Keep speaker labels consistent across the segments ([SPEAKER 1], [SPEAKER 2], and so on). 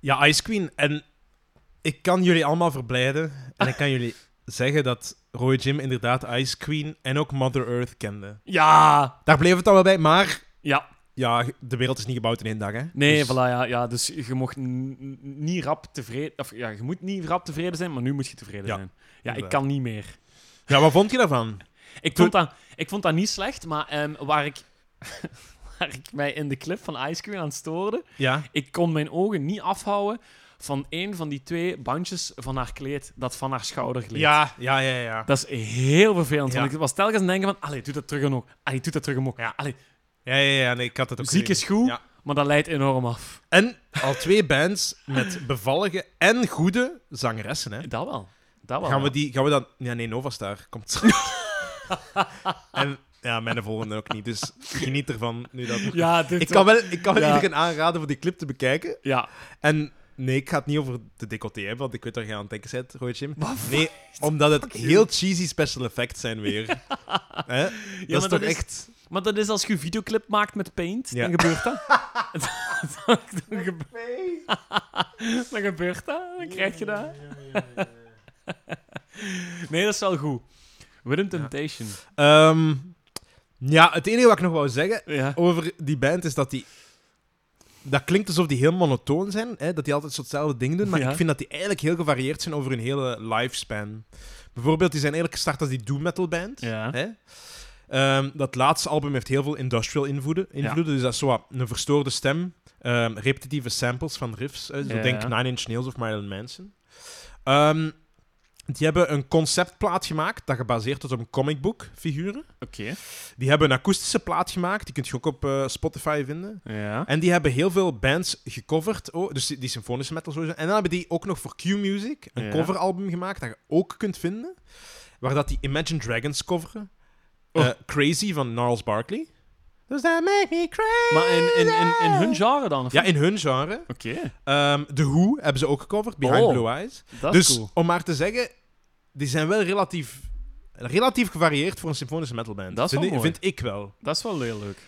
[SPEAKER 1] Ja, Ice Queen. En ik kan jullie allemaal verblijden. En ik kan jullie zeggen dat Roy Jim inderdaad Ice Queen en ook Mother Earth kende.
[SPEAKER 2] Ja,
[SPEAKER 1] Daar bleef het dan wel bij, maar...
[SPEAKER 2] Ja.
[SPEAKER 1] Ja, de wereld is niet gebouwd in één dag, hè?
[SPEAKER 2] nee,
[SPEAKER 1] Dus-
[SPEAKER 2] voilà, ja, ja. Dus je mocht n- n- niet rap tevreden... Of ja, je moet niet rap tevreden zijn, maar nu moet je tevreden
[SPEAKER 1] Ja,
[SPEAKER 2] zijn. Ja, ik
[SPEAKER 1] inderdaad.
[SPEAKER 2] kan niet meer.
[SPEAKER 1] Ja, wat vond je daarvan?
[SPEAKER 2] Ik vond dat, ik vond dat niet slecht, maar ehm, waar, ik, waar ik mij in de clip van Ice Cream aan stoorde,
[SPEAKER 1] Ja?
[SPEAKER 2] ik kon mijn ogen niet afhouden van één van die twee bandjes van haar kleed, dat van haar schouder gleed.
[SPEAKER 1] Ja, ja, ja, ja.
[SPEAKER 2] Dat is heel vervelend, want
[SPEAKER 1] Ja.
[SPEAKER 2] ik was telkens aan het denken van, allee, doe dat terug omhoog. Allee, doe dat terug omhoog. Allee,
[SPEAKER 1] Ja, ja, ja, nee, ik had het ook
[SPEAKER 2] muziek
[SPEAKER 1] gezien.
[SPEAKER 2] is goed,
[SPEAKER 1] Ja.
[SPEAKER 2] maar dat leidt enorm af.
[SPEAKER 1] En al twee bands met bevallige en goede zangeressen, hè?
[SPEAKER 2] Dat wel. Dat wel.
[SPEAKER 1] Gaan we,
[SPEAKER 2] ja.
[SPEAKER 1] die, gaan we dan... Ja, nee, Nova Star komt en ja, mijn volgende ook niet. Dus geniet ervan nu dat...
[SPEAKER 2] Ja, dit,
[SPEAKER 1] Ik kan wel, ik kan wel
[SPEAKER 2] Ja.
[SPEAKER 1] iedereen aanraden voor die clip te bekijken.
[SPEAKER 2] ja.
[SPEAKER 1] En nee, ik ga het niet over de decolleté hebben, want ik weet waar je aan het denken bent, Roy Jim.
[SPEAKER 2] Maar
[SPEAKER 1] Nee, omdat het heel cheesy special effects zijn weer. Hè? dat
[SPEAKER 2] maar
[SPEAKER 1] is toch
[SPEAKER 2] dat is-
[SPEAKER 1] echt...
[SPEAKER 2] Maar dat is als je een videoclip maakt met Paint,
[SPEAKER 1] Ja.
[SPEAKER 2] dan gebeurt dat. dan, gebe- dan gebeurt dat, dan krijg je dat. Nee, dat is wel goed. Within Temptation.
[SPEAKER 1] Ehm, ja, het enige wat ik nog wou zeggen
[SPEAKER 2] Ja.
[SPEAKER 1] over die band is dat die... Dat klinkt alsof die heel monotoon zijn, hè? dat die altijd zo hetzelfde ding doen, maar
[SPEAKER 2] Ja.
[SPEAKER 1] ik vind dat die eigenlijk heel gevarieerd zijn over hun hele lifespan. Bijvoorbeeld, die zijn eigenlijk gestart als die doom metal band.
[SPEAKER 2] Ja.
[SPEAKER 1] Hè? Ehm, dat laatste album heeft heel veel industrial invloeden. invloeden Dus dat is zo wat een verstoorde stem, ehm, repetitieve samples van riffs. hè. Zo
[SPEAKER 2] Ja,
[SPEAKER 1] denk
[SPEAKER 2] ja.
[SPEAKER 1] Nine Inch Nails of Marilyn Manson. Ehm, die hebben een conceptplaat gemaakt dat gebaseerd is op een comicbook figuren.
[SPEAKER 2] Oké.
[SPEAKER 1] Die hebben een akoestische plaat gemaakt, die kun je ook op eh, Spotify vinden.
[SPEAKER 2] Ja.
[SPEAKER 1] En die hebben heel veel bands gecoverd, oh, dus die, die symfonische metal sowieso. En dan hebben die ook nog voor Q-Music een
[SPEAKER 2] Ja.
[SPEAKER 1] coveralbum gemaakt dat je ook kunt vinden, waar dat die Imagine Dragons coveren.
[SPEAKER 2] Oh. Dus
[SPEAKER 1] Eh, Crazy van Gnarls Barkley. Does that make me crazy?
[SPEAKER 2] Maar in, in, in, in hun genre dan? of
[SPEAKER 1] Ja,
[SPEAKER 2] niet?
[SPEAKER 1] in hun genre.
[SPEAKER 2] Oké.
[SPEAKER 1] Ehm The Who hebben ze ook gecoverd, Behind
[SPEAKER 2] Oh.
[SPEAKER 1] Blue Eyes.
[SPEAKER 2] Dat
[SPEAKER 1] dus
[SPEAKER 2] is cool.
[SPEAKER 1] om maar te zeggen, die zijn wel relatief, relatief gevarieerd voor een symfonische metalband.
[SPEAKER 2] Dat is wel
[SPEAKER 1] vind, ik-
[SPEAKER 2] mooi.
[SPEAKER 1] vind ik wel.
[SPEAKER 2] Dat is wel heel leuk.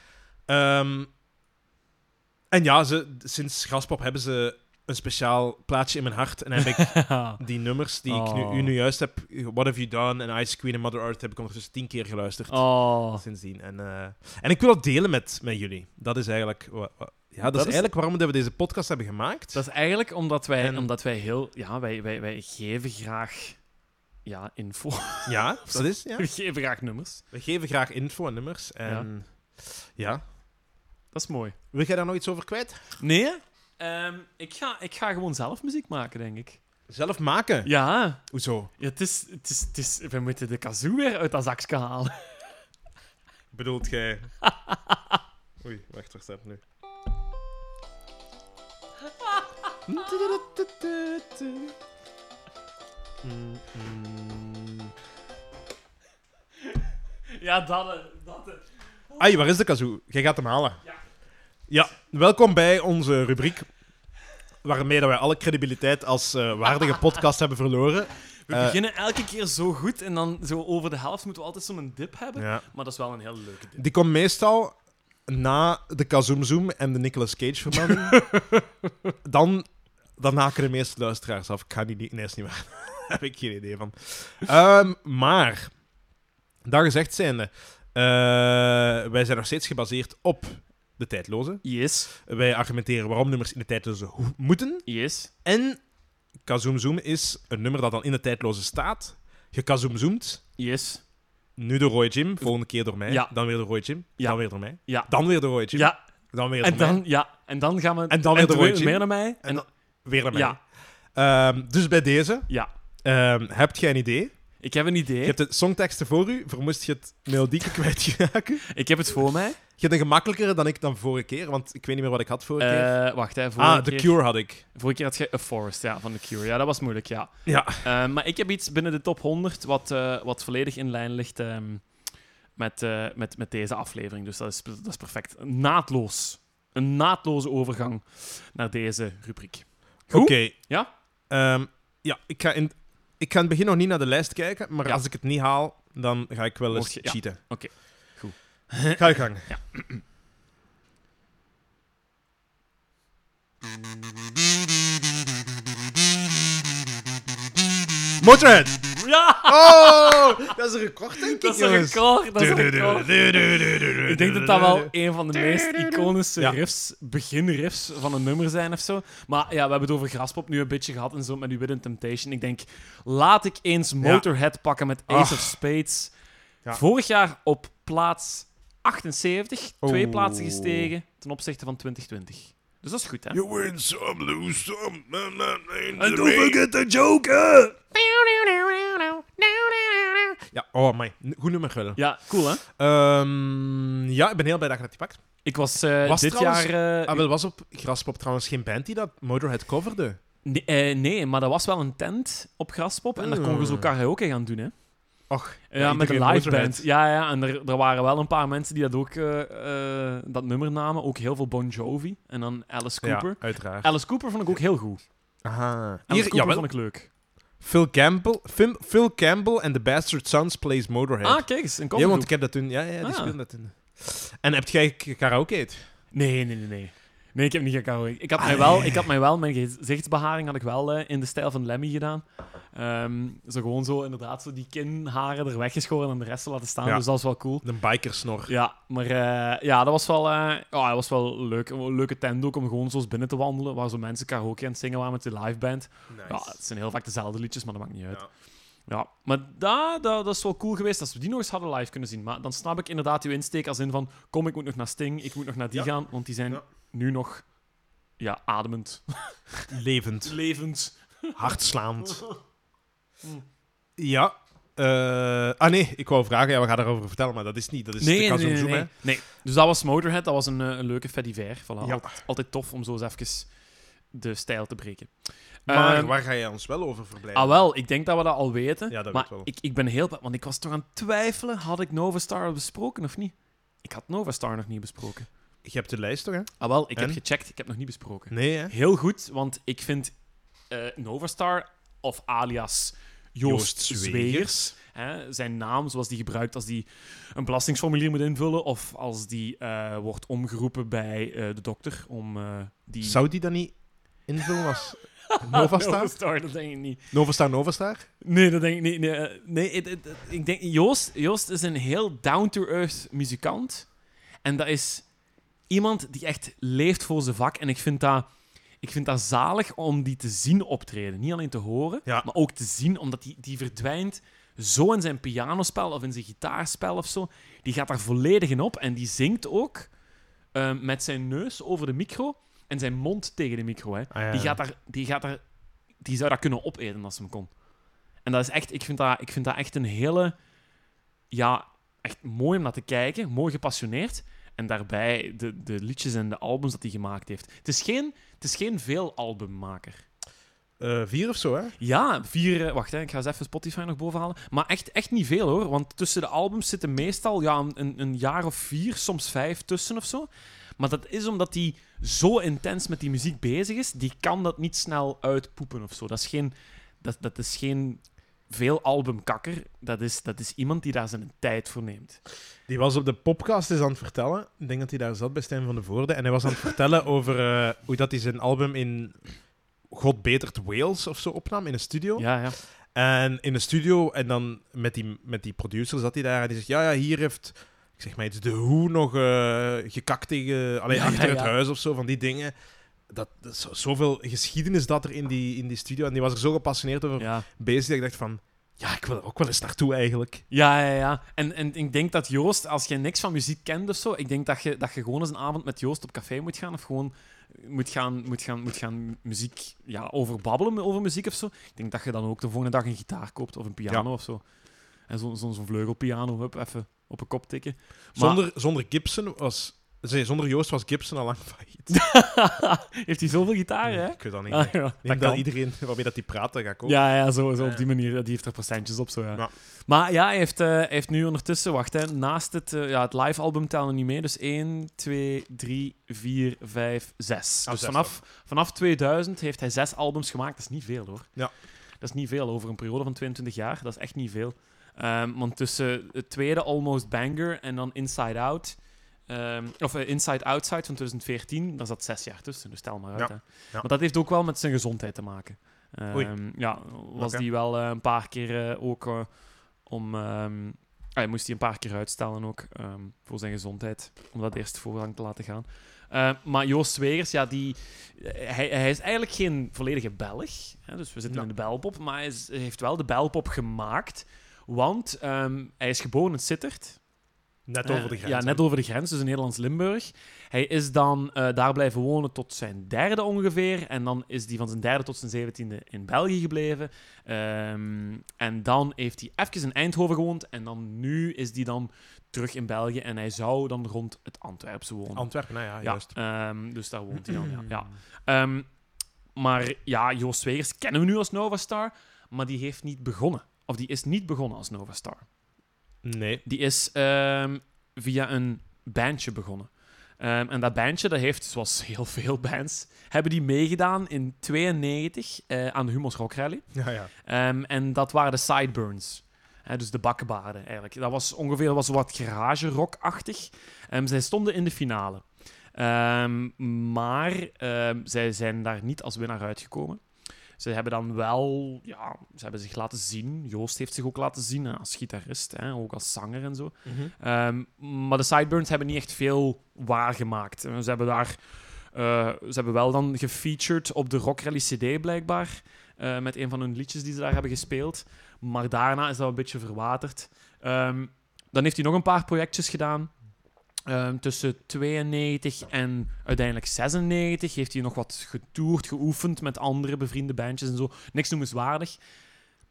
[SPEAKER 1] Ehm, en ja, ze, sinds Graspop hebben ze een speciaal plaatsje in mijn hart. En heb ik die nummers die ik
[SPEAKER 2] Oh.
[SPEAKER 1] nu, u nu juist heb, What Have You Done en Ice Queen en Mother Earth, heb ik ondertussen tien keer geluisterd
[SPEAKER 2] oh.
[SPEAKER 1] sindsdien. En, eh, en ik wil dat delen met, met jullie. Dat is eigenlijk, wa- wa- ja, dat
[SPEAKER 2] Dat
[SPEAKER 1] is
[SPEAKER 2] is-
[SPEAKER 1] eigenlijk waarom dat we deze podcast hebben gemaakt.
[SPEAKER 2] Dat is eigenlijk omdat wij,
[SPEAKER 1] En-
[SPEAKER 2] omdat wij heel... Ja, wij, wij, wij geven graag... Ja, info.
[SPEAKER 1] Ja, dat is, ja.
[SPEAKER 2] We geven graag nummers.
[SPEAKER 1] We geven graag info en nummers. En ja.
[SPEAKER 2] Dat is mooi.
[SPEAKER 1] Wil jij daar nog iets over kwijt?
[SPEAKER 2] Nee? Ehm, ik, ga, ik ga gewoon zelf muziek maken, denk ik.
[SPEAKER 1] Zelf maken.
[SPEAKER 2] Ja,
[SPEAKER 1] Hoezo?
[SPEAKER 2] ja het is, het is, het is, we moeten de kazoo weer uit dat zakje halen.
[SPEAKER 1] Bedoelt jij... Oei, wacht, wacht even nu.
[SPEAKER 2] Ja, dat. eh, dat eh.
[SPEAKER 1] Ai, waar is de kazoo? Jij gaat hem halen.
[SPEAKER 2] Ja.
[SPEAKER 1] Ja, welkom bij onze rubriek. Waarmee dat wij alle credibiliteit als eh, waardige podcast hebben verloren.
[SPEAKER 2] We
[SPEAKER 1] Eh.
[SPEAKER 2] beginnen elke keer zo goed en dan zo over de helft moeten we altijd zo'n dip hebben.
[SPEAKER 1] Ja.
[SPEAKER 2] Maar dat is wel een heel leuke dip.
[SPEAKER 1] Die komt meestal na de Kazoomzoom en de Nicolas Cage vermelding. dan, dan haken de meeste luisteraars af. Ik ga die niet... Nee, is niet waar. Daar heb ik geen idee van. Ehm, maar, dat gezegd zijnde... eh, wij zijn nog steeds gebaseerd op de tijdloze.
[SPEAKER 2] Yes,
[SPEAKER 1] Wij argumenteren waarom nummers in de tijdloze ho- moeten.
[SPEAKER 2] yes.
[SPEAKER 1] En Kazoomzoom is een nummer dat dan in de tijdloze staat. Gekazoomzoomt.
[SPEAKER 2] Yes.
[SPEAKER 1] Nu door Roy Jim, volgende keer door mij.
[SPEAKER 2] Ja.
[SPEAKER 1] Dan weer door Roy Jim.
[SPEAKER 2] Ja.
[SPEAKER 1] Dan weer door mij.
[SPEAKER 2] Ja.
[SPEAKER 1] Dan weer door Roy Jim.
[SPEAKER 2] Ja,
[SPEAKER 1] Dan weer
[SPEAKER 2] en
[SPEAKER 1] door mij.
[SPEAKER 2] dan, ja, en dan gaan we...
[SPEAKER 1] En dan weer de
[SPEAKER 2] terug
[SPEAKER 1] rondje.
[SPEAKER 2] meer naar mij.
[SPEAKER 1] En
[SPEAKER 2] En,
[SPEAKER 1] dan- Weer naar mij.
[SPEAKER 2] ja,
[SPEAKER 1] Ehm, dus bij deze,
[SPEAKER 2] ja.
[SPEAKER 1] ehm heb jij een idee?
[SPEAKER 2] Ik heb een idee.
[SPEAKER 1] Je hebt de songteksten voor u, vermoest je het melodieke kwijtgeraken.
[SPEAKER 2] Ik heb het voor mij.
[SPEAKER 1] Je hebt een gemakkelijkere dan ik dan vorige keer, want ik weet niet meer wat ik had vorige keer.
[SPEAKER 2] Eh, wacht, hè. Vorige
[SPEAKER 1] Ah, The
[SPEAKER 2] keer-
[SPEAKER 1] Cure had ik.
[SPEAKER 2] Vorige keer had je A Forest, ja, van The Cure. Ja, dat was moeilijk, ja.
[SPEAKER 1] Ja.
[SPEAKER 2] Eh, maar ik heb iets binnen de top 100 wat, eh, wat volledig in lijn ligt ehm, met, eh, met, met deze aflevering. Dus dat is, dat is perfect. Naadloos. Een naadloze overgang naar deze rubriek.
[SPEAKER 1] Oké.
[SPEAKER 2] Goed? Ja?
[SPEAKER 1] Ehm, ja, ik ga, in, ik ga in het begin nog niet naar de lijst kijken, maar
[SPEAKER 2] Ja.
[SPEAKER 1] als ik het niet haal, dan ga ik wel eens
[SPEAKER 2] Mocht je- ja.
[SPEAKER 1] cheaten.
[SPEAKER 2] Oké. Goed.
[SPEAKER 1] Ga je gang. Motorhead!
[SPEAKER 2] Ja!
[SPEAKER 1] Oh! Dat is een record, denk ik,
[SPEAKER 2] Dat is een
[SPEAKER 1] jongens.
[SPEAKER 2] record, dat is een record. Ik denk dat dat wel een van de meest iconische
[SPEAKER 1] Ja.
[SPEAKER 2] riffs, beginriffs van een nummer zijn of zo. Maar ja, we hebben het over Graspop nu een beetje gehad en zo met die Within Temptation. Ik denk, laat ik eens Motorhead pakken met Ace
[SPEAKER 1] Ach.
[SPEAKER 2] of Spades.
[SPEAKER 1] Ah. Ja.
[SPEAKER 2] Vorig jaar op plaats 78, twee
[SPEAKER 1] Oh.
[SPEAKER 2] plaatsen gestegen ten opzichte van 2020. Dus dat is goed, hè?
[SPEAKER 1] You win some, lose some.
[SPEAKER 2] And don't forget
[SPEAKER 1] the Joker! Ja, oh my. Goed nummer wel.
[SPEAKER 2] Ja, cool, hè?
[SPEAKER 1] Ehm, ja, ik ben heel blij dat je dat die pakt.
[SPEAKER 2] Ik was, eh,
[SPEAKER 1] Was
[SPEAKER 2] dit
[SPEAKER 1] trouwens-
[SPEAKER 2] jaar... eh,
[SPEAKER 1] Ah, wel was op Graspop trouwens geen band die dat Motorhead coverde.
[SPEAKER 2] Nee, eh, nee, maar dat was wel een tent op Graspop. En daar konden we zo
[SPEAKER 1] Mm.
[SPEAKER 2] karaoke gaan doen, hè.
[SPEAKER 1] Och.
[SPEAKER 2] Ja,
[SPEAKER 1] Ja,
[SPEAKER 2] met een
[SPEAKER 1] iedereen
[SPEAKER 2] live
[SPEAKER 1] Motorhead.
[SPEAKER 2] band. Ja, ja, en er, er waren wel een paar mensen die dat ook, eh, eh, dat nummer namen. Ook heel veel Bon Jovi en dan Alice Cooper.
[SPEAKER 1] Ja, uiteraard.
[SPEAKER 2] Alice Cooper vond ik ook heel goed.
[SPEAKER 1] Aha.
[SPEAKER 2] Alice
[SPEAKER 1] Hier,
[SPEAKER 2] Cooper
[SPEAKER 1] jawel.
[SPEAKER 2] vond ik leuk.
[SPEAKER 1] Phil Campbell, Phil, Phil Campbell and the Bastard Sons plays Motorhead.
[SPEAKER 2] Ah, kijk eens, een
[SPEAKER 1] ja,
[SPEAKER 2] cover
[SPEAKER 1] want ik heb dat toen... Ja, ja die
[SPEAKER 2] Ah.
[SPEAKER 1] speelden dat toen. En heb jij k- karaoke het?
[SPEAKER 2] Nee, nee, nee, nee. Nee, ik heb niet gekauwen. Ik had
[SPEAKER 1] Ah,
[SPEAKER 2] mij wel,
[SPEAKER 1] nee.
[SPEAKER 2] ik had mij wel mijn gezichtsbeharing had ik wel eh, in de stijl van Lemmy gedaan. Ehm, zo gewoon zo, inderdaad, zo die kinharen er weggeschoren en de rest te laten staan.
[SPEAKER 1] Ja.
[SPEAKER 2] Dus dat is wel cool.
[SPEAKER 1] De bikersnor.
[SPEAKER 2] Ja, maar eh, ja, dat was wel, eh, ja, dat was wel leuk. Een leuke tent ook om gewoon zo eens binnen te wandelen. Waar zo mensen karaoke aan het zingen waren met die live band. Ja, het zijn heel vaak dezelfde liedjes, maar dat maakt niet uit.
[SPEAKER 1] Ja.
[SPEAKER 2] Ja, maar dat, dat, dat is wel cool geweest als we die nog eens hadden live kunnen zien. Maar dan snap ik inderdaad uw insteek als in van... Kom, ik moet nog naar Sting, ik moet nog naar die
[SPEAKER 1] Ja.
[SPEAKER 2] gaan. Want die zijn
[SPEAKER 1] Ja.
[SPEAKER 2] nu nog... Ja, ademend.
[SPEAKER 1] Levend.
[SPEAKER 2] Levend.
[SPEAKER 1] Dus Hartslaand. Ja. eh, ah nee, ik wou vragen. Ja, we gaan daarover vertellen, maar dat is niet. Dat is de
[SPEAKER 2] Nee, nee,
[SPEAKER 1] Kazoom
[SPEAKER 2] nee,
[SPEAKER 1] Zoom,
[SPEAKER 2] nee.
[SPEAKER 1] hè.
[SPEAKER 2] Nee, Dus dat was Motorhead, dat was een, eh, een leuke fediver. Voilà.
[SPEAKER 1] Ja.
[SPEAKER 2] Altijd, altijd tof om zo eens even de stijl te breken.
[SPEAKER 1] Maar
[SPEAKER 2] Ehm,
[SPEAKER 1] waar ga je ons wel over verblijven?
[SPEAKER 2] Ah, wel, ik denk dat we dat al weten.
[SPEAKER 1] Ja, dat
[SPEAKER 2] maar
[SPEAKER 1] weet ik wel.
[SPEAKER 2] Ik, ik ben heel... be- Want ik was toch aan het twijfelen, had ik Novastar al besproken of niet? Ik had Novastar nog niet besproken.
[SPEAKER 1] Je hebt de lijst toch, hè?
[SPEAKER 2] Ah, wel, ik
[SPEAKER 1] En?
[SPEAKER 2] heb gecheckt, ik heb nog niet besproken.
[SPEAKER 1] Nee, hè?
[SPEAKER 2] Heel goed, want ik vind eh, Novastar, of alias Joost,
[SPEAKER 1] Joost Zwegers.
[SPEAKER 2] Zwegers, hè, zijn naam zoals die gebruikt als die een belastingsformulier moet invullen, of als die eh, wordt omgeroepen bij eh, de dokter om eh, die...
[SPEAKER 1] Zou die dat niet invullen als
[SPEAKER 2] Ah,
[SPEAKER 1] Novastar?
[SPEAKER 2] Novastar, dat denk ik niet.
[SPEAKER 1] Novastar, Novastar?
[SPEAKER 2] Nee, dat denk ik niet. Nee, eh, nee het- het- het- ik denk... Joost, Joost is een heel down-to-earth muzikant. En dat is iemand die echt leeft voor zijn vak. En ik vind dat... Ik vind dat zalig om die te zien optreden. Niet alleen te horen,
[SPEAKER 1] Ja.
[SPEAKER 2] maar ook te zien. Omdat die, die verdwijnt zo in zijn pianospel of in zijn gitaarspel of zo. Die gaat daar volledig in op. En die zingt ook eh, met zijn neus over de micro en zijn mond tegen de micro. Hè.
[SPEAKER 1] Ah, ja.
[SPEAKER 2] Die, gaat daar, die, gaat daar, die zou dat kunnen opeten als ze hem kon. En dat is echt, ik vind dat, ik vind dat echt een hele, ja, echt mooi om naar te kijken, mooi gepassioneerd. En daarbij de, de liedjes en de albums dat hij gemaakt heeft. Het is geen, het is geen veel albummaker.
[SPEAKER 1] Eh, vier of zo, hè?
[SPEAKER 2] Ja, vier. eh, Wacht, hè, ik ga eens even Spotify nog bovenhalen. Maar echt, echt niet veel hoor. Want tussen de albums zitten meestal ja, een- een, een jaar of vier, soms vijf tussen of zo. Maar dat is omdat hij zo intens met die muziek bezig is. Die kan dat niet snel uitpoepen of zo. Dat is geen, dat, dat is geen veel albumkakker. Dat is, dat is iemand die daar zijn tijd voor neemt.
[SPEAKER 1] Die was op de podcast eens aan het vertellen. Ik denk dat hij daar zat bij Stijn van de Voorde. En hij was aan het vertellen over eh, hoe dat hij zijn album in God Betert Wales of zo opnam in een studio.
[SPEAKER 2] Ja, ja.
[SPEAKER 1] En in de studio, en dan met die, met die producer zat hij daar. En die zegt: Ja, ja, hier heeft. Ik zeg maar iets, de hoe nog eh, gekakt tegen. Alleen
[SPEAKER 2] Ja,
[SPEAKER 1] achter
[SPEAKER 2] ja,
[SPEAKER 1] het
[SPEAKER 2] ja.
[SPEAKER 1] huis of zo, van die dingen. Dat, dat is zo- zoveel geschiedenis dat er in die, in die studio. En die was er zo gepassioneerd over
[SPEAKER 2] ja.
[SPEAKER 1] bezig. Dat ik dacht: van, Ja, ik wil er ook wel eens naartoe eigenlijk.
[SPEAKER 2] Ja, ja, ja. En, en ik denk dat Joost, als je niks van muziek kent of zo, ik denk dat je, dat je gewoon eens een avond met Joost op café moet gaan. Of gewoon moet gaan, moet gaan, moet gaan muziek ja, over babbelen over muziek of zo. Ik denk dat je dan ook de volgende dag een gitaar koopt of een piano of zo. En zo'n zo, zo'n vleugelpiano, hup, even op een kop tikken. Maar-
[SPEAKER 1] Zonder, zonder Gibson was. zei, Zonder Joost was Gibson al lang failliet.
[SPEAKER 2] Heeft hij zoveel gitaren, hè?
[SPEAKER 1] Ik weet dat niet.
[SPEAKER 2] Ah,
[SPEAKER 1] Ik
[SPEAKER 2] ja,
[SPEAKER 1] denk
[SPEAKER 2] dat
[SPEAKER 1] dat
[SPEAKER 2] kan.
[SPEAKER 1] iedereen waarmee dat die praat, dat ga ik ook.
[SPEAKER 2] Ja, ja, zo, zo
[SPEAKER 1] Ja,
[SPEAKER 2] op die manier. Die heeft er procentjes op, zo ja.
[SPEAKER 1] Ja.
[SPEAKER 2] Maar ja, hij heeft, eh, hij heeft nu ondertussen, wacht hè, naast het, eh, ja, het live album tellen we niet mee. Dus 1, 2, 3, 4, 5, 6.
[SPEAKER 1] Ah,
[SPEAKER 2] dus
[SPEAKER 1] zes
[SPEAKER 2] vanaf, vanaf 2000 heeft hij zes albums gemaakt. Dat is niet veel hoor.
[SPEAKER 1] Ja.
[SPEAKER 2] Dat is niet veel over een periode van 22 jaar. Dat is echt niet veel. Ehm, want tussen het tweede Almost Banger en dan Inside Out. ehm, of eh, Inside Outside van 2014, daar zat zes jaar tussen, dus tel maar uit.
[SPEAKER 1] Ja.
[SPEAKER 2] Hè.
[SPEAKER 1] Ja.
[SPEAKER 2] Maar dat heeft ook wel met zijn gezondheid te maken. Eh,
[SPEAKER 1] Oei.
[SPEAKER 2] Ehm, ja, was
[SPEAKER 1] Oké.
[SPEAKER 2] die wel eh, een paar keer eh, ook eh, om... ehm, hij moest die een paar keer uitstellen ook, ehm, voor zijn gezondheid, om dat eerst voorrang te laten gaan. Eh, maar Joost Zwegers, ja, die, eh, hij, hij is eigenlijk geen volledige Belg, hè, dus we zitten
[SPEAKER 1] Ja.
[SPEAKER 2] in de belpop, maar hij, is- hij heeft wel de belpop gemaakt, want ehm, hij is geboren in Sittert.
[SPEAKER 1] Net
[SPEAKER 2] Eh,
[SPEAKER 1] over de grens.
[SPEAKER 2] Ja, net over de grens, dus in Nederlands-Limburg. Hij is dan eh, daar blijven wonen tot zijn derde ongeveer. En dan is hij van zijn derde tot zijn zeventiende in België gebleven. Ehm, en dan heeft hij even in Eindhoven gewoond. En dan nu is hij dan terug in België. En hij zou dan rond het Antwerpse wonen.
[SPEAKER 1] Antwerpen, nou ja,
[SPEAKER 2] ja,
[SPEAKER 1] juist.
[SPEAKER 2] ehm, dus daar woont hij dan. Ja, ja. Ehm, maar ja, Joost Zwegers kennen we nu als Nova Star. Maar die heeft niet begonnen. Of die is niet begonnen als Nova Star.
[SPEAKER 1] Nee.
[SPEAKER 2] Die is ehm, via een bandje begonnen. Ehm, en dat bandje, dat heeft, zoals heel veel bands, hebben die meegedaan in 92 eh, aan de Humo's Rock Rally.
[SPEAKER 1] Ja, ja.
[SPEAKER 2] Ehm, en dat waren de sideburns. Hè, dus de bakkenbaarden eigenlijk. Dat was ongeveer was wat garage rockachtig. Ehm zij stonden in de finale. Ehm, maar ehm, zij zijn daar niet als winnaar uitgekomen. Ze hebben dan wel, ja, ze hebben zich laten zien. Joost heeft zich ook laten zien hè, als gitarist, hè, ook als zanger en zo. Ehm, maar de Sideburns hebben niet echt veel waargemaakt. Eh, Ze hebben daar... eh, ze hebben wel dan gefeatured op de Rock Rally CD, blijkbaar. eh, met een van hun liedjes die ze daar hebben gespeeld. Maar daarna is dat een beetje verwaterd. Ehm, dan heeft hij nog een paar projectjes gedaan. Ehm, tussen 92 en uiteindelijk 96 heeft hij nog wat getoerd, geoefend met andere bevriende bandjes en zo. Niks noemenswaardig.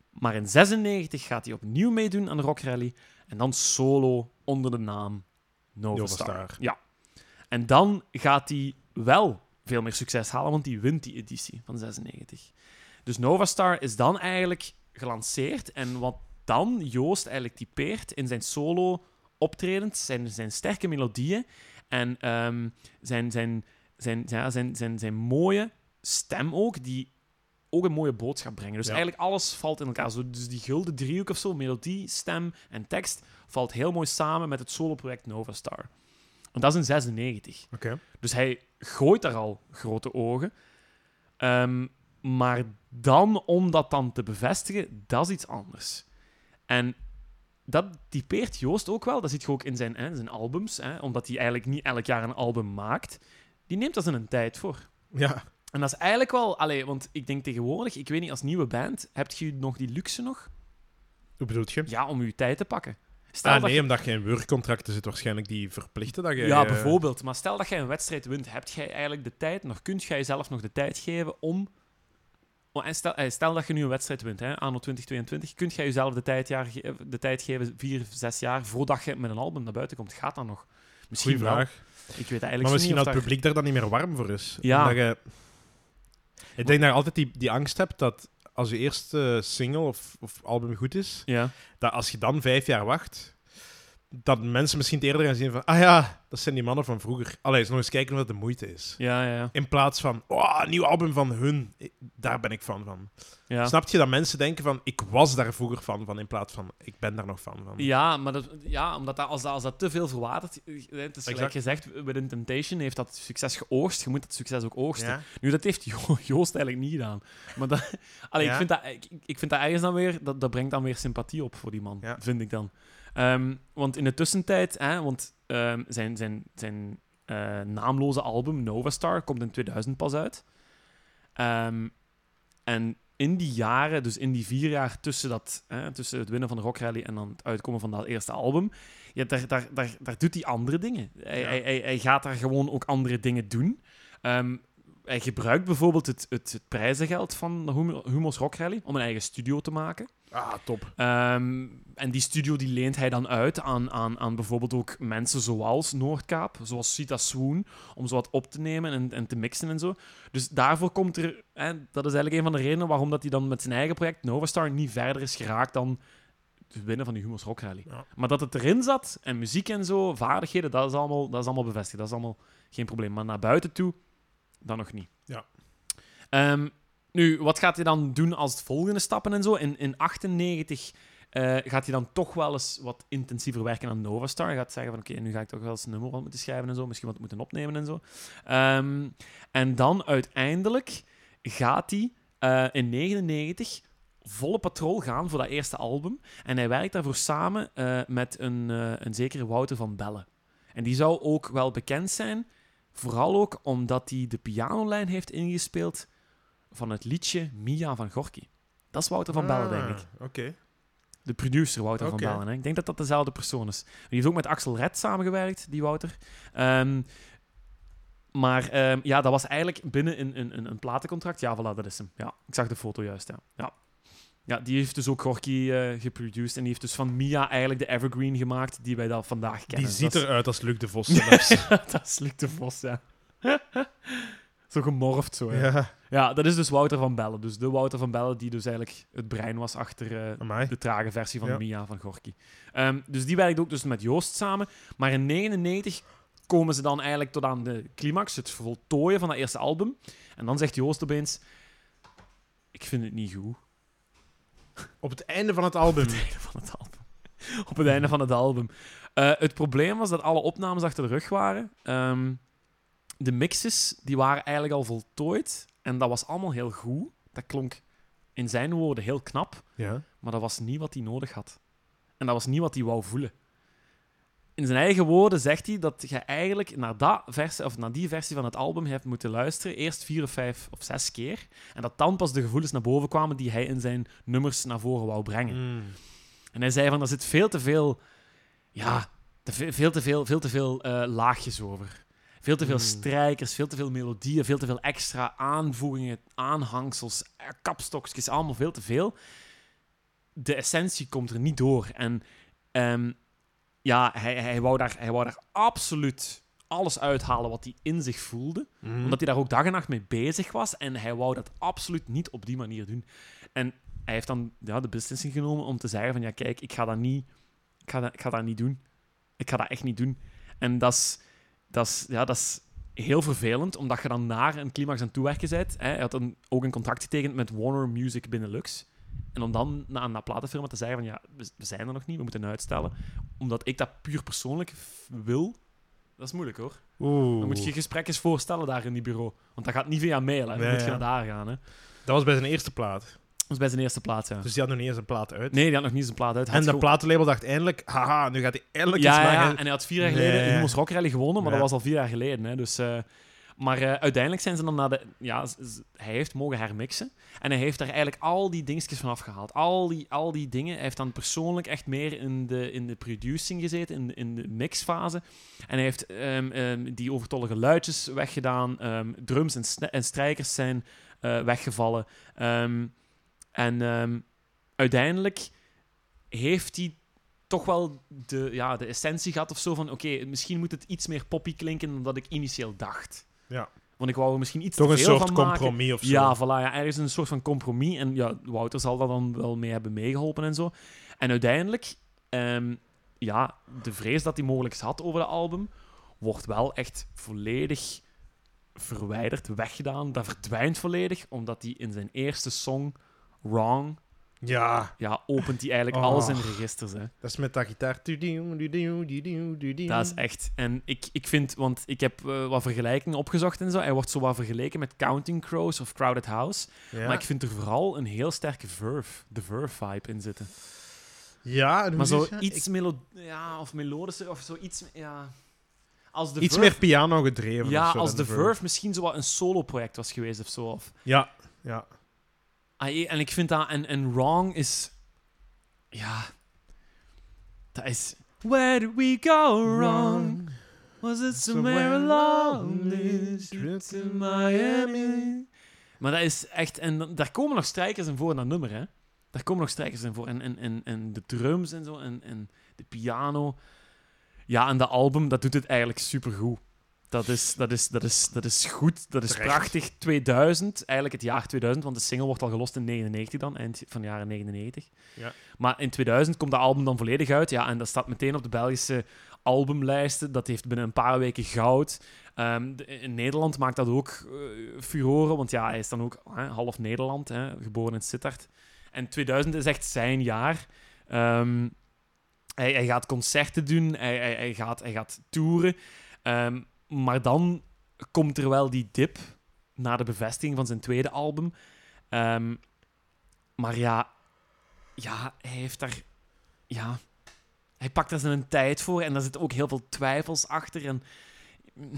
[SPEAKER 2] Maar in 96 gaat hij opnieuw meedoen aan de Rock Rally. En dan solo onder de naam Nova,
[SPEAKER 1] Nova
[SPEAKER 2] Star.
[SPEAKER 1] Star.
[SPEAKER 2] Ja. En dan gaat hij wel veel meer succes halen, want die wint die editie van 96. Dus Nova Star is dan eigenlijk gelanceerd. En wat dan Joost eigenlijk typeert in zijn solo optredens, zijn, zijn sterke melodieën en ehm, zijn, zijn, zijn, zijn, ja, zijn, zijn, zijn mooie stem ook, die ook een mooie boodschap brengen. Dus
[SPEAKER 1] Ja.
[SPEAKER 2] eigenlijk alles valt in elkaar. Zo, dus die gulden driehoek of zo, melodie, stem en tekst, valt heel mooi samen met het solo-project Nova Star. En dat is in 96.
[SPEAKER 1] Oké.
[SPEAKER 2] Dus hij gooit daar al grote ogen. Ehm, maar dan, om dat dan te bevestigen, dat is iets anders. En dat typeert Joost ook wel. Dat ziet je ook in zijn, hè, zijn albums. Hè, omdat hij eigenlijk niet elk jaar een album maakt. Die neemt daar zijn een tijd voor.
[SPEAKER 1] Ja.
[SPEAKER 2] En dat is eigenlijk wel... Allee, want ik denk tegenwoordig, ik weet niet, als nieuwe band... Heb je nog die luxe nog?
[SPEAKER 1] Hoe bedoelt je?
[SPEAKER 2] Ja, om je tijd te pakken. Stel
[SPEAKER 1] Ah,
[SPEAKER 2] dat
[SPEAKER 1] nee, omdat je in werkcontracten zit waarschijnlijk die verplichten dat je...
[SPEAKER 2] Ja,
[SPEAKER 1] eh,
[SPEAKER 2] bijvoorbeeld. Maar stel dat jij een wedstrijd wint, heb jij eigenlijk de tijd nog? Kunt jij jezelf nog de tijd geven om. Oh, en stel, eh, stel dat je nu een wedstrijd wint, hè, anno 2022, kunt jij jezelf de tijd, jaar ge- eh, de tijd geven, vier, zes jaar, voordat je met een album naar buiten komt? Gaat dat nog? Misschien
[SPEAKER 1] Goeie
[SPEAKER 2] wel.
[SPEAKER 1] vraag.
[SPEAKER 2] Ik weet eigenlijk
[SPEAKER 1] Maar misschien
[SPEAKER 2] niet
[SPEAKER 1] dat
[SPEAKER 2] of
[SPEAKER 1] het publiek daar dan niet meer warm voor is.
[SPEAKER 2] Ja.
[SPEAKER 1] Omdat je- Ik denk dat je altijd die, die angst hebt dat als je eerste single of, of album goed is,
[SPEAKER 2] Ja.
[SPEAKER 1] dat als je dan vijf jaar wacht, dat mensen misschien het eerder gaan zien van ah ja, dat zijn die mannen van vroeger. Allee, eens nog eens kijken wat de moeite is.
[SPEAKER 2] Ja, ja, ja.
[SPEAKER 1] In plaats van, oh, een nieuw album van hun. Ik- Daar ben ik fan van.
[SPEAKER 2] ja.
[SPEAKER 1] Snap je dat mensen denken van, ik was daar vroeger fan van, in plaats van, ik ben daar nog fan van.
[SPEAKER 2] Ja, maar dat, ja, omdat dat, als, dat, als dat te veel verwatert... eh, Het is gelijk
[SPEAKER 1] Exact.
[SPEAKER 2] gezegd, Within Temptation heeft dat succes geoogst. Je moet dat succes ook oogsten.
[SPEAKER 1] Ja?
[SPEAKER 2] Nu, dat heeft Jo- Joost eigenlijk niet gedaan. Maar dat, allee, ik,
[SPEAKER 1] Ja.
[SPEAKER 2] vind dat, ik, ik vind dat ergens dan weer... Dat, dat brengt dan weer sympathie op voor die man,
[SPEAKER 1] Ja.
[SPEAKER 2] vind ik dan. Ehm, want in de tussentijd... Hè, want ehm, zijn, zijn, zijn eh, naamloze album, Nova Star, komt in 2000 pas uit. Ehm, en in die jaren, dus in die vier jaar tussen, dat, hè, tussen het winnen van de Rock Rally en dan het uitkomen van dat eerste album, ja, daar, daar, daar, daar doet hij andere dingen. Hij,
[SPEAKER 1] Ja.
[SPEAKER 2] hij, hij, hij gaat daar gewoon ook andere dingen doen. Ehm, hij gebruikt bijvoorbeeld het, het, het prijzengeld van de Hum- Humo's Rock Rally om een eigen studio te maken.
[SPEAKER 1] Ah, top.
[SPEAKER 2] Ehm, en die studio die leent hij dan uit aan, aan, aan bijvoorbeeld ook mensen zoals Noordkaap, zoals Sita Swoon, om zo wat op te nemen en, en te mixen en zo. Dus daarvoor komt er, hè, dat is eigenlijk een van de redenen waarom dat hij dan met zijn eigen project Novastar niet verder is geraakt dan het winnen van die Humo's Rock Rally.
[SPEAKER 1] Ja.
[SPEAKER 2] Maar dat het erin zat, en muziek en zo, vaardigheden, dat is allemaal, dat is allemaal bevestigd. Dat is allemaal geen probleem. Maar naar buiten toe, dan nog niet.
[SPEAKER 1] Ja.
[SPEAKER 2] Ehm, nu, wat gaat hij dan doen als het volgende stappen en zo? In, in 98 eh, gaat hij dan toch wel eens wat intensiever werken aan Nova Star. Hij gaat zeggen van, oké, nu ga ik toch wel eens een nummer wat moeten schrijven en zo. Misschien wat moeten opnemen en zo. Ehm, en dan uiteindelijk gaat hij... ehm, eh, in 99 volle patrol gaan voor dat eerste album. En hij werkt daarvoor samen eh, met een, eh, een zekere Wouter van Bellen. En die zou ook wel bekend zijn, vooral ook omdat hij de pianolijn heeft ingespeeld van het liedje Mia van Gorky. Dat is Wouter van Bellen, denk ik.
[SPEAKER 1] Ah, Oké.
[SPEAKER 2] De producer Wouter
[SPEAKER 1] Oké.
[SPEAKER 2] van Balen. Hè? Ik denk dat dat dezelfde persoon is. Die heeft ook met Axel Red samengewerkt, die Wouter. Ehm, maar ehm, ja, dat was eigenlijk binnen een, een, een, een platencontract. Ja, voilà, dat is hem. Ja, ik zag de foto juist. Ja, ja. ja die heeft dus ook Gorky eh, geproduced. En die heeft dus van Mia eigenlijk de evergreen gemaakt die wij dan vandaag kennen.
[SPEAKER 1] Die ziet
[SPEAKER 2] Dat is-
[SPEAKER 1] eruit als Luc de Vos. zelfs.
[SPEAKER 2] dat is Luc de Vos, ja. zo gemorfd zo, hè. Ja.
[SPEAKER 1] ja,
[SPEAKER 2] dat is dus Wouter van Bellen. Dus de Wouter van Bellen die dus eigenlijk het brein was achter eh,
[SPEAKER 1] amai.
[SPEAKER 2] de trage versie van
[SPEAKER 1] Ja.
[SPEAKER 2] Mia van Gorky. Ehm, dus die werkt ook dus met Joost samen. Maar in 99 komen ze dan eigenlijk tot aan de climax, het voltooien van dat eerste album. En dan zegt Joost opeens... Ik vind het niet goed
[SPEAKER 1] Op het einde van het album.
[SPEAKER 2] op het einde van het album. Op het einde van het album. Eh, het probleem was dat alle opnames achter de rug waren. Ehm, de mixes die waren eigenlijk al voltooid. En dat was allemaal heel goed. Dat klonk in zijn woorden heel knap.
[SPEAKER 1] Ja.
[SPEAKER 2] Maar dat was niet wat hij nodig had. En dat was niet wat hij wou voelen. In zijn eigen woorden zegt hij dat je eigenlijk naar, dat versie, of naar die versie van het album hebt moeten luisteren. Eerst vier of vijf of zes keer. En dat dan pas de gevoelens naar boven kwamen die hij in zijn nummers naar voren wou brengen.
[SPEAKER 1] Mm.
[SPEAKER 2] En hij zei van, er zit veel te veel... Ja, te ve- veel te veel, veel, te veel eh, laagjes over. Veel te veel
[SPEAKER 1] Mm.
[SPEAKER 2] strijkers, veel te veel melodieën, veel te veel extra aanvoegingen, aanhangsels, eh, kapstokjes, allemaal veel te veel. De essentie komt er niet door. En ehm, ja, hij, hij, wou daar, hij wou daar absoluut alles uithalen wat hij in zich voelde
[SPEAKER 1] Mm.
[SPEAKER 2] omdat hij daar ook dag en nacht mee bezig was. En hij wou dat absoluut niet op die manier doen. En hij heeft dan ja, de beslissing genomen om te zeggen van... Ja, kijk, ik ga dat niet... Ik ga dat, ik ga dat niet doen. Ik ga dat echt niet doen. En dat is... Dat is, ja, dat is heel vervelend, omdat je dan naar een climax aan het toewerken bent. Hè. Hij had dan ook een contract getekend met Warner Music Benelux. En om dan na- aan dat platenfirma te zeggen van... Ja, we, we zijn er nog niet, we moeten uitstellen. Omdat ik dat puur persoonlijk f- wil... Dat is moeilijk, hoor.
[SPEAKER 1] Oeh.
[SPEAKER 2] Dan moet je gesprek eens voorstellen daar in die bureau. Want dat gaat niet via mail, hè. Dan
[SPEAKER 1] Nee,
[SPEAKER 2] moet je
[SPEAKER 1] ja.
[SPEAKER 2] naar daar gaan, hè.
[SPEAKER 1] Dat was bij zijn eerste plaat.
[SPEAKER 2] Dat is bij zijn eerste plaat, ja.
[SPEAKER 1] Dus die had nog niet eens een plaat uit.
[SPEAKER 2] Nee, die had nog niet zijn plaat uit. Hij
[SPEAKER 1] en
[SPEAKER 2] had
[SPEAKER 1] dat
[SPEAKER 2] gewoon-
[SPEAKER 1] platenlabel dacht eindelijk, haha, nu gaat hij eindelijk iets
[SPEAKER 2] ja, ja,
[SPEAKER 1] maken.
[SPEAKER 2] en hij had vier jaar
[SPEAKER 1] Nee.
[SPEAKER 2] geleden Humo's Rock Rally gewonnen, maar
[SPEAKER 1] Ja.
[SPEAKER 2] dat was al vier jaar geleden, hè. Dus... eh, maar eh, uiteindelijk zijn ze dan naar de... Ja, z- z- hij heeft mogen hermixen. En hij heeft daar eigenlijk al die dingetjes van afgehaald. Al die, al die dingen. Hij heeft dan persoonlijk echt meer in de, in de producing gezeten, in, de- in de mixfase. En hij heeft ehm, ehm, die overtollige luidjes weggedaan. ehm, drums en, sne- en strijkers zijn eh, weggevallen. Ehm, en ehm, uiteindelijk heeft hij toch wel de, ja, de essentie gehad of zo van... Oké, misschien moet het iets meer poppy klinken dan dat ik initieel dacht.
[SPEAKER 1] Ja.
[SPEAKER 2] Want ik wou er misschien iets
[SPEAKER 1] Toch
[SPEAKER 2] te
[SPEAKER 1] een
[SPEAKER 2] veel
[SPEAKER 1] soort
[SPEAKER 2] van maken.
[SPEAKER 1] compromis of zo.
[SPEAKER 2] Ja, voilà. Ja, er is een soort van compromis. En ja, Wouter zal daar dan wel mee hebben meegeholpen en zo. En uiteindelijk, ehm, ja, de vrees dat hij mogelijk had over dat album, wordt wel echt volledig verwijderd, weggedaan. Dat verdwijnt volledig, omdat hij in zijn eerste song, Wrong,
[SPEAKER 1] Ja,
[SPEAKER 2] ja, opent hij eigenlijk
[SPEAKER 1] Oh.
[SPEAKER 2] alles in de registers. Hè.
[SPEAKER 1] dat is met dat gitaar. Tudu, tudu, tudu, tudu.
[SPEAKER 2] Dat is echt. En ik, ik vind, want ik heb eh, wat vergelijkingen opgezocht en zo. Hij wordt zo wat vergeleken met Counting Crows of Crowded House.
[SPEAKER 1] Ja,
[SPEAKER 2] Maar ik vind er vooral een heel sterke verve, de verve-vibe in zitten.
[SPEAKER 1] ja en
[SPEAKER 2] Maar
[SPEAKER 1] hoe
[SPEAKER 2] zo
[SPEAKER 1] is dat?
[SPEAKER 2] iets melo ja, of melodischer of zo iets, ja. Als de
[SPEAKER 1] Ik- iets
[SPEAKER 2] verve-
[SPEAKER 1] meer piano gedreven.
[SPEAKER 2] Ja,
[SPEAKER 1] of zo
[SPEAKER 2] als
[SPEAKER 1] dan
[SPEAKER 2] de verve, misschien zo wat een solo-project was geweest of zo. Of,
[SPEAKER 1] Ja, ja.
[SPEAKER 2] Ah, eh, en ik vind dat, en, en Wrong is, ja, dat is. Where did we go wrong? Was it somewhere along this trip to Miami? Maar dat is echt... En dan- daar komen nog strijkers in voor in dat nummer, hè. Daar komen nog strijkers in voor. En, en, en, en de drums en zo. En, en de piano. Ja, en dat album, dat doet het eigenlijk supergoed. Dat is, dat is, dat is, dat is goed. Dat is
[SPEAKER 1] Terecht.
[SPEAKER 2] prachtig. 2000, eigenlijk het jaar 2000. Want de single wordt al gelost in 99 dan. Eind van de jaren 99.
[SPEAKER 1] Ja.
[SPEAKER 2] Maar in 2000 komt dat album dan volledig uit. Ja, en dat staat meteen op de Belgische albumlijsten. Dat heeft binnen een paar weken goud. Ehm, de- in Nederland maakt dat ook eh, furoren, want ja, hij is dan ook hè, half Nederland, hè, geboren in Sittard. En 2000 is echt zijn jaar. Ehm, hij, hij gaat concerten doen, hij, hij, hij, gaat, hij gaat toeren. Ehm, maar dan komt er wel die dip na de bevestiging van zijn tweede album. Ehm, Ehm, maar ja, ja, hij heeft daar... Ja, hij pakt daar zijn tijd voor en daar zitten ook heel veel twijfels achter. En mm,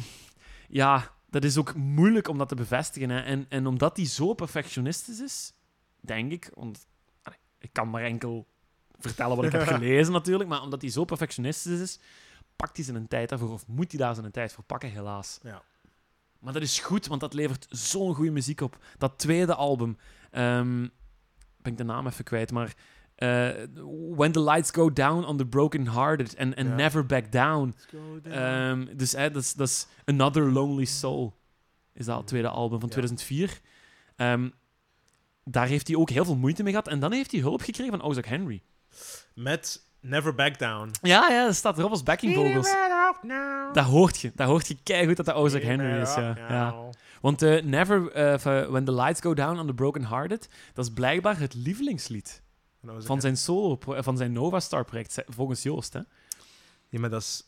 [SPEAKER 2] ja, dat is ook moeilijk om dat te bevestigen. Hè. En, en omdat hij zo perfectionistisch is, denk ik... Want, allee, ik kan maar enkel vertellen wat ik heb gelezen natuurlijk, maar omdat hij zo perfectionistisch is, pakt hij zijn tijd daarvoor of moet hij daar zijn tijd voor pakken, helaas.
[SPEAKER 1] Ja.
[SPEAKER 2] Maar dat is goed, want dat levert zo'n goede muziek op. Dat tweede album, ehm, ben ik de naam even kwijt, maar eh, When the Lights Go Down on the Broken Hearted and, and
[SPEAKER 1] Ja.
[SPEAKER 2] Never Back Down. Ehm, dus eh, dat is- dat is Another Lonely Soul, is dat het tweede album van
[SPEAKER 1] Ja.
[SPEAKER 2] 2004. Ehm, daar heeft hij ook heel veel moeite mee gehad. En dan heeft hij hulp gekregen van Ozark Henry.
[SPEAKER 1] Met Never Back Down.
[SPEAKER 2] Ja, ja, dat staat erop als backingvogels. Dat hoort je. Dat hoort je keigoed dat dat Ozark Henry is. Ja. Ja. Want eh, Never, eh, of, eh, When the Lights Go Down on the Broken Hearted, dat is blijkbaar het lievelingslied van zijn, solo, pro- eh, van zijn Nova Star project, ze- volgens Joost. Hè?
[SPEAKER 1] Ja, maar dat is...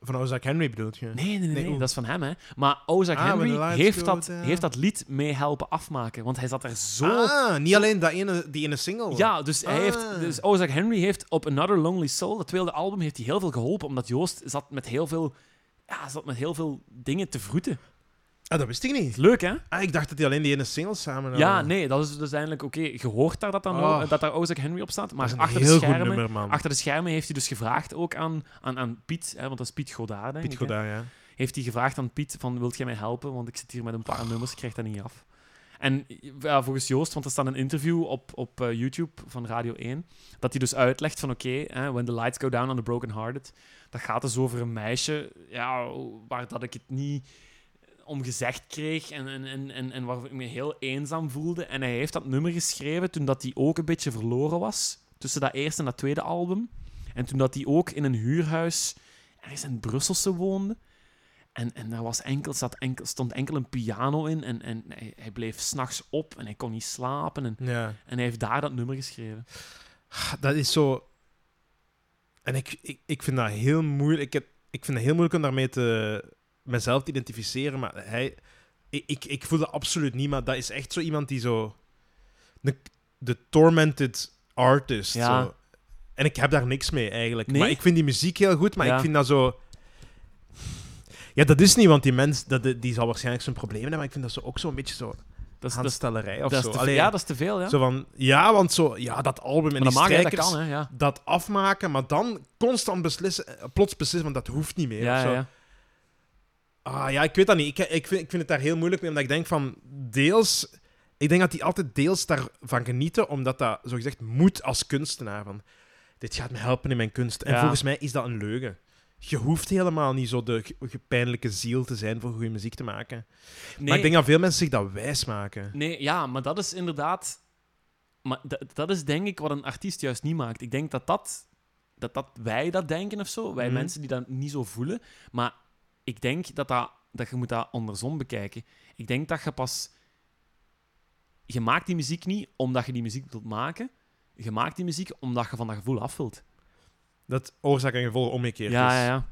[SPEAKER 1] Van Ozark Henry bedoelt je?
[SPEAKER 2] Nee, nee, nee, nee,
[SPEAKER 1] oeh.
[SPEAKER 2] dat is van hem. Hè? Maar Ozark
[SPEAKER 1] Ah, When the
[SPEAKER 2] Henry
[SPEAKER 1] Lights
[SPEAKER 2] heeft
[SPEAKER 1] Go
[SPEAKER 2] dat,
[SPEAKER 1] Down.
[SPEAKER 2] heeft dat lied mee helpen afmaken, want hij zat er zo...
[SPEAKER 1] Ah, niet alleen dat ene, die ene single.
[SPEAKER 2] Ja, dus, hij heeft,
[SPEAKER 1] Ah.
[SPEAKER 2] dus Ozark Henry heeft op Another Lonely Soul, dat tweede album, heeft hij heel veel geholpen, omdat Joost zat met heel veel, ja, zat met heel veel dingen te vroeten.
[SPEAKER 1] Ah, dat wist ik niet.
[SPEAKER 2] Leuk, hè?
[SPEAKER 1] Ah, ik dacht dat hij alleen die ene single samen had.
[SPEAKER 2] Ja, nee, dat is dus eindelijk oké. Je hoort daar dat, dan
[SPEAKER 1] Oh.
[SPEAKER 2] wel- dat daar Ozark Henry op staat,
[SPEAKER 1] Dat is
[SPEAKER 2] maar
[SPEAKER 1] een
[SPEAKER 2] achter de,
[SPEAKER 1] heel goed
[SPEAKER 2] schermen,
[SPEAKER 1] nummer, man.
[SPEAKER 2] achter de schermen heeft hij dus gevraagd ook aan, aan, aan Piet, hè, want dat is Piet Godard, denk
[SPEAKER 1] Piet
[SPEAKER 2] ik. hè.
[SPEAKER 1] Godin, ja.
[SPEAKER 2] Heeft hij gevraagd aan Piet van, wilt jij mij helpen? Want ik zit hier met een paar nummers, ik krijg dat niet af. En ja, volgens Joost, want er staat een interview op, op eh, YouTube van Radio 1, dat hij dus uitlegt van oké, hè, when the lights go down on the broken hearted, dat gaat dus over een meisje ja, waar dat ik het niet om gezegd kreeg en, en, en, en, en waar ik me heel eenzaam voelde. En hij heeft dat nummer geschreven toen dat hij ook een beetje verloren was, tussen dat eerste en dat tweede album. En toen dat hij ook in een huurhuis ergens in het Brusselse woonde. En, en daar was enkel, zat enkel, stond enkel een piano in en, en hij, hij bleef s'nachts op en hij kon niet slapen. En,
[SPEAKER 1] Ja.
[SPEAKER 2] en hij heeft daar dat nummer geschreven.
[SPEAKER 1] Dat is zo... En ik, ik, ik vind dat heel moeilijk. Ik, heb, ik vind het heel moeilijk om daarmee te, mezelf te identificeren. Maar hij... Ik, ik, ik voel dat absoluut niet, maar dat is echt zo iemand die zo... De, de tormented artist.
[SPEAKER 2] Ja.
[SPEAKER 1] Zo. En ik heb daar niks mee, eigenlijk.
[SPEAKER 2] Nee?
[SPEAKER 1] Maar ik vind die muziek heel goed, maar
[SPEAKER 2] Ja.
[SPEAKER 1] ik vind dat zo... Ja, dat is niet, want die mens dat, die zal waarschijnlijk zijn problemen hebben, maar ik vind dat zo ook zo'n beetje zo
[SPEAKER 2] Dat is, dat is,
[SPEAKER 1] aanstellerij of
[SPEAKER 2] dat is
[SPEAKER 1] zo.
[SPEAKER 2] te-
[SPEAKER 1] Allee,
[SPEAKER 2] ja, dat is te veel, ja.
[SPEAKER 1] zo van, ja, want zo, ja, dat album en
[SPEAKER 2] maar dan
[SPEAKER 1] die
[SPEAKER 2] maak je dat
[SPEAKER 1] strijkers,
[SPEAKER 2] kan, hè. Ja,
[SPEAKER 1] dat afmaken, maar dan constant beslissen, eh, plots beslissen, want dat hoeft niet meer.
[SPEAKER 2] ja,
[SPEAKER 1] of
[SPEAKER 2] ja,
[SPEAKER 1] zo.
[SPEAKER 2] ja.
[SPEAKER 1] Ah, ja, ik weet dat niet. Ik, ik, vind, ik vind het daar heel moeilijk mee, omdat ik denk van, deels... Ik denk dat die altijd deels daarvan genieten, omdat dat, zogezegd, moet als kunstenaar. Van, dit gaat me helpen in mijn kunst. En
[SPEAKER 2] Ja.
[SPEAKER 1] volgens mij is dat een leugen. Je hoeft helemaal niet zo de ge- gepijnlijke ziel te zijn voor goede muziek te maken. Maar
[SPEAKER 2] Nee,
[SPEAKER 1] ik denk dat veel mensen zich dat wijs maken.
[SPEAKER 2] nee, ja, maar dat is inderdaad... Maar da- dat is denk ik wat een artiest juist niet maakt. Ik denk dat dat, dat, dat wij dat denken of zo. Wij
[SPEAKER 1] Mhm.
[SPEAKER 2] mensen die dat niet zo voelen. Maar ik denk dat, dat, dat je moet dat andersom bekijken. Ik denk dat je pas... Je maakt die muziek niet omdat je die muziek wilt maken. Je maakt die muziek omdat je van dat gevoel af wilt.
[SPEAKER 1] Dat oorzaak en gevolg omgekeerd
[SPEAKER 2] Ja,
[SPEAKER 1] is.
[SPEAKER 2] ja, ja.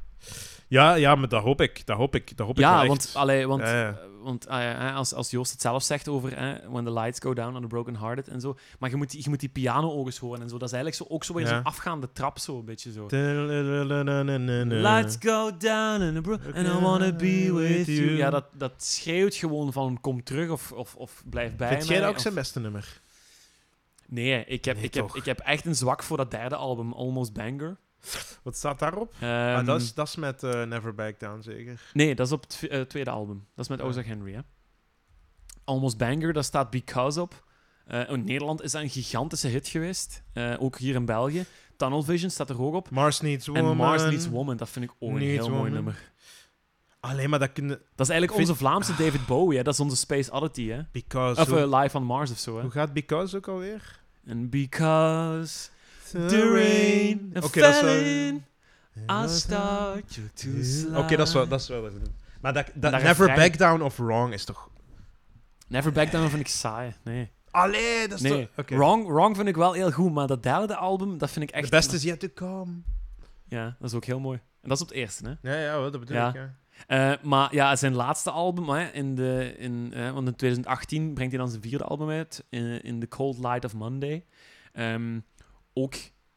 [SPEAKER 1] Ja, ja, maar dat hoop ik. Dat hoop ik. Dat hoop ik
[SPEAKER 2] Ja,
[SPEAKER 1] wel
[SPEAKER 2] want,
[SPEAKER 1] echt.
[SPEAKER 2] allee, want,
[SPEAKER 1] Ja, ja.
[SPEAKER 2] eh, want ah ja, eh, als, als Joost het zelf zegt over eh, When the lights go down on the broken hearted en zo. Maar je moet, die- je moet die piano-oogjes horen en zo. Dat is eigenlijk zo, ook zo weer
[SPEAKER 1] Ja.
[SPEAKER 2] zo'n afgaande trap, zo een beetje zo. Lights
[SPEAKER 1] Lights.
[SPEAKER 2] go down on the bro- and I wanna be with you. Ja, dat, dat schreeuwt gewoon van kom terug of, of, of blijf bij
[SPEAKER 1] Vind
[SPEAKER 2] mij.
[SPEAKER 1] jij dat ook
[SPEAKER 2] of-
[SPEAKER 1] zijn beste nummer?
[SPEAKER 2] Nee, ik heb,
[SPEAKER 1] Nee,
[SPEAKER 2] ik, heb,
[SPEAKER 1] toch?
[SPEAKER 2] ik heb echt een zwak voor dat derde album, Almost Banger.
[SPEAKER 1] Wat staat daarop?
[SPEAKER 2] Ehm,
[SPEAKER 1] ah, dat, is, dat is met eh, Never Back Down, zeker.
[SPEAKER 2] Nee, dat is op het tw- eh, tweede album. Dat is met
[SPEAKER 1] Ja.
[SPEAKER 2] Ozark Henry, hè. Almost Banger, daar staat Because op. Eh, in Nederland is dat een gigantische hit geweest. Eh, ook hier in België. Tunnel Vision staat er ook op.
[SPEAKER 1] Mars Needs Woman.
[SPEAKER 2] En Mars Needs Woman, dat vind ik ook een
[SPEAKER 1] Needs
[SPEAKER 2] heel mooi
[SPEAKER 1] Woman.
[SPEAKER 2] nummer.
[SPEAKER 1] Alleen maar dat kunnen...
[SPEAKER 2] Dat is eigenlijk
[SPEAKER 1] Vind- Ah.
[SPEAKER 2] onze Vlaamse David Bowie, hè. Dat is onze Space Oddity, hè.
[SPEAKER 1] Because...
[SPEAKER 2] Of
[SPEAKER 1] hoe,
[SPEAKER 2] eh, Live on Mars of zo, hè.
[SPEAKER 1] hoe gaat Because ook alweer?
[SPEAKER 2] And because the rain fell in, I start you to slide.
[SPEAKER 1] Oké, dat is wel... Dat is wel maar dat, dat
[SPEAKER 2] daar
[SPEAKER 1] Never
[SPEAKER 2] refrein-
[SPEAKER 1] Back Down of Wrong is toch...
[SPEAKER 2] Never Back Down vind ik saai, nee.
[SPEAKER 1] Allee, dat is
[SPEAKER 2] Nee,
[SPEAKER 1] toch... Oké.
[SPEAKER 2] Wrong, Wrong vind ik wel heel goed, maar dat derde album, dat vind ik echt...
[SPEAKER 1] The best is yet to come.
[SPEAKER 2] Ja, dat is ook heel mooi. En dat is op het eerste, hè?
[SPEAKER 1] Ja, ja, wel, dat bedoel
[SPEAKER 2] Ja.
[SPEAKER 1] ik. Ja.
[SPEAKER 2] Eh, maar ja, zijn laatste album, hè, in de, in, eh, want in 2018 brengt hij dan zijn vierde album uit, eh, in, in The Cold Light of Monday. Ehm, ook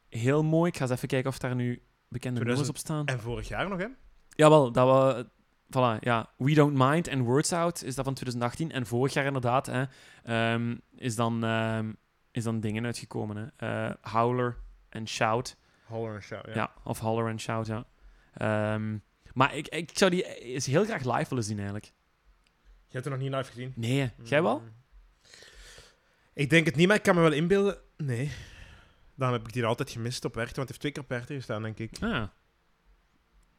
[SPEAKER 2] heel mooi. Ik ga eens even kijken of daar nu bekende nummers
[SPEAKER 1] 2000
[SPEAKER 2] op staan.
[SPEAKER 1] En vorig jaar nog, hè?
[SPEAKER 2] Jawel, dat we... Voilà, ja. We Don't Mind en Words Out is dat van 2018. En vorig jaar inderdaad hè, ehm, is, dan, ehm, is dan dingen uitgekomen. Hè. Eh, Howler en Shout.
[SPEAKER 1] Holler and Shout,
[SPEAKER 2] Ja. of Howler en Shout, ja. Ehm, maar ik, ik zou die eens heel graag live willen zien, eigenlijk.
[SPEAKER 1] Je hebt er nog niet live gezien.
[SPEAKER 2] Nee, jij wel?
[SPEAKER 1] Mm. Ik denk het niet, maar ik kan me wel inbeelden. Nee. Daarom heb ik die altijd gemist op Werchter, want hij heeft twee keer op Werchter gestaan, denk ik.
[SPEAKER 2] Ja.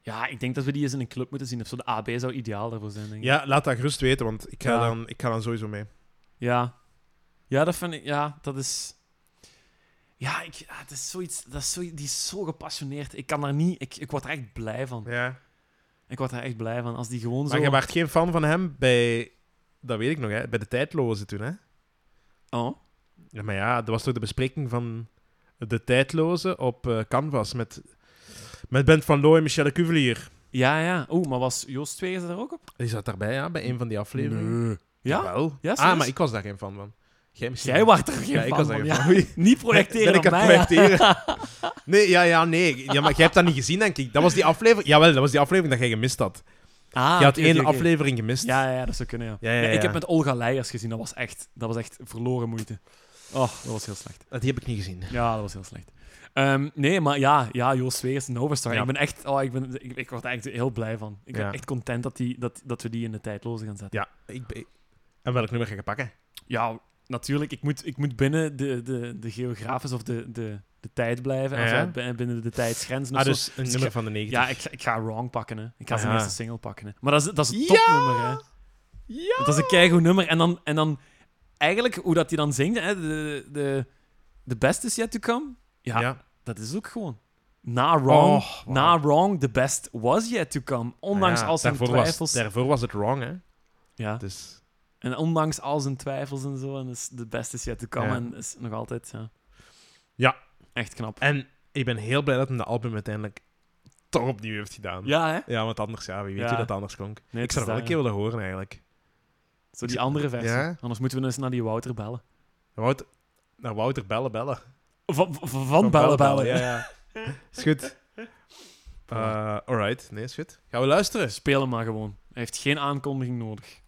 [SPEAKER 2] Ja, ik denk dat we die eens in een club moeten zien. Of zo, de AB zou ideaal daarvoor zijn, denk ik.
[SPEAKER 1] Ja, laat dat gerust weten, want ik ga,
[SPEAKER 2] Ja.
[SPEAKER 1] dan, ik ga dan sowieso mee.
[SPEAKER 2] Ja. Ja, dat vind ik... Ja, dat is... Ja, ik, ah, het is zoiets, dat is zoiets... Die is zo gepassioneerd. Ik kan daar niet... Ik, ik word er echt blij van.
[SPEAKER 1] Ja.
[SPEAKER 2] Ik word er echt blij van. Als die gewoon
[SPEAKER 1] Maar
[SPEAKER 2] zo...
[SPEAKER 1] je was geen fan van hem bij, dat weet ik nog, hè, bij de tijdloze toen, hè?
[SPEAKER 2] Oh.
[SPEAKER 1] Ja, maar ja, dat was toch de bespreking van de tijdloze op eh, Canvas met, met Bent van Looy en Michelle Cuvelier.
[SPEAKER 2] Ja, ja. Oeh, maar was Joost 2 er ook op?
[SPEAKER 1] Die zat daarbij, ja, bij een van die afleveringen.
[SPEAKER 2] Ja?
[SPEAKER 1] Jawel.
[SPEAKER 2] Ja, serieus?
[SPEAKER 1] ah, maar ik was daar geen fan van. Jij misschien
[SPEAKER 2] Jij
[SPEAKER 1] wel.
[SPEAKER 2] was er geen
[SPEAKER 1] Ja, ik
[SPEAKER 2] fan
[SPEAKER 1] was er
[SPEAKER 2] van.
[SPEAKER 1] geen
[SPEAKER 2] Ja.
[SPEAKER 1] fan van.
[SPEAKER 2] Niet projecteren
[SPEAKER 1] ben ik
[SPEAKER 2] op
[SPEAKER 1] aan
[SPEAKER 2] mij.
[SPEAKER 1] het projecteren? Nee, ja, ja, nee. Ja, maar jij hebt dat niet gezien, denk ik. Dat was die aflevering... Jawel, dat was die aflevering dat jij gemist had.
[SPEAKER 2] ja. Ah,
[SPEAKER 1] je had
[SPEAKER 2] oké, oké,
[SPEAKER 1] één
[SPEAKER 2] oké.
[SPEAKER 1] aflevering gemist.
[SPEAKER 2] Ja, ja, ja, dat zou kunnen, ja.
[SPEAKER 1] Ja, ja,
[SPEAKER 2] Nee,
[SPEAKER 1] ja.
[SPEAKER 2] Ik heb met Olga Leijers gezien. Dat was echt, dat was echt verloren moeite. Oh, dat was heel slecht.
[SPEAKER 1] Die heb ik niet gezien.
[SPEAKER 2] Ja, dat was heel slecht. Ehm, nee, maar ja, ja Joost Zweeg is een overstar.
[SPEAKER 1] Ja.
[SPEAKER 2] Ik ben echt, oh, ik, ben, ik, ik word er echt heel blij van. Ik
[SPEAKER 1] Ja.
[SPEAKER 2] ben echt content dat, die, dat, dat we die in de tijdloze gaan zetten.
[SPEAKER 1] Ja, ik... ben- En welk nummer ga je pakken?
[SPEAKER 2] Ja, natuurlijk, ik moet, ik moet binnen de, de, de geografische of de, de, de tijd blijven.
[SPEAKER 1] Ja,
[SPEAKER 2] Of,
[SPEAKER 1] ja.
[SPEAKER 2] eh, bi- binnen de tijdsgrenzen of
[SPEAKER 1] Ah,
[SPEAKER 2] zo.
[SPEAKER 1] dus een
[SPEAKER 2] Dus
[SPEAKER 1] nummer
[SPEAKER 2] ik-
[SPEAKER 1] van de 90.
[SPEAKER 2] Ja, ik, ga- ik ga Wrong pakken, hè. Ik ga zijn
[SPEAKER 1] Ah, ja.
[SPEAKER 2] eerste single pakken, hè. Maar dat is, dat is een
[SPEAKER 1] Ja!
[SPEAKER 2] topnummer, hè.
[SPEAKER 1] Ja!
[SPEAKER 2] Dat is een keigoed nummer. En dan, en dan eigenlijk hoe dat hij dan zingt, hè. De, de, de best is yet to come. Ja,
[SPEAKER 1] Ja.
[SPEAKER 2] dat is ook gewoon. Na Wrong,
[SPEAKER 1] Oh, wauw. Ah
[SPEAKER 2] na Wrong, the best was yet to come. Ondanks
[SPEAKER 1] Ja,
[SPEAKER 2] al zijn
[SPEAKER 1] daarvoor was-
[SPEAKER 2] twijfels.
[SPEAKER 1] daarvoor was het wrong, hè.
[SPEAKER 2] Ja.
[SPEAKER 1] Dus...
[SPEAKER 2] En ondanks al zijn twijfels en zo, en dus de best is yet to come.
[SPEAKER 1] Ja.
[SPEAKER 2] En is nog altijd, ja.
[SPEAKER 1] Ja.
[SPEAKER 2] Echt knap.
[SPEAKER 1] En ik ben heel blij dat hij de album uiteindelijk toch opnieuw heeft gedaan.
[SPEAKER 2] Ja, hè?
[SPEAKER 1] Ja, want anders, ja, wie weet
[SPEAKER 2] Ja.
[SPEAKER 1] hoe dat anders klonk.
[SPEAKER 2] Nee,
[SPEAKER 1] Ik zou dat wel een keer willen horen, eigenlijk.
[SPEAKER 2] Zo die andere versie.
[SPEAKER 1] Ja.
[SPEAKER 2] Anders moeten we eens naar die Wouter bellen.
[SPEAKER 1] Wouter... Nou, Wouter, bellen, bellen.
[SPEAKER 2] Van, van, van bellen, bellen.
[SPEAKER 1] Ja, ja. Is goed. Eh, alright, nee, is goed. Gaan we luisteren?
[SPEAKER 2] Speel hem maar gewoon. Hij heeft geen aankondiging nodig.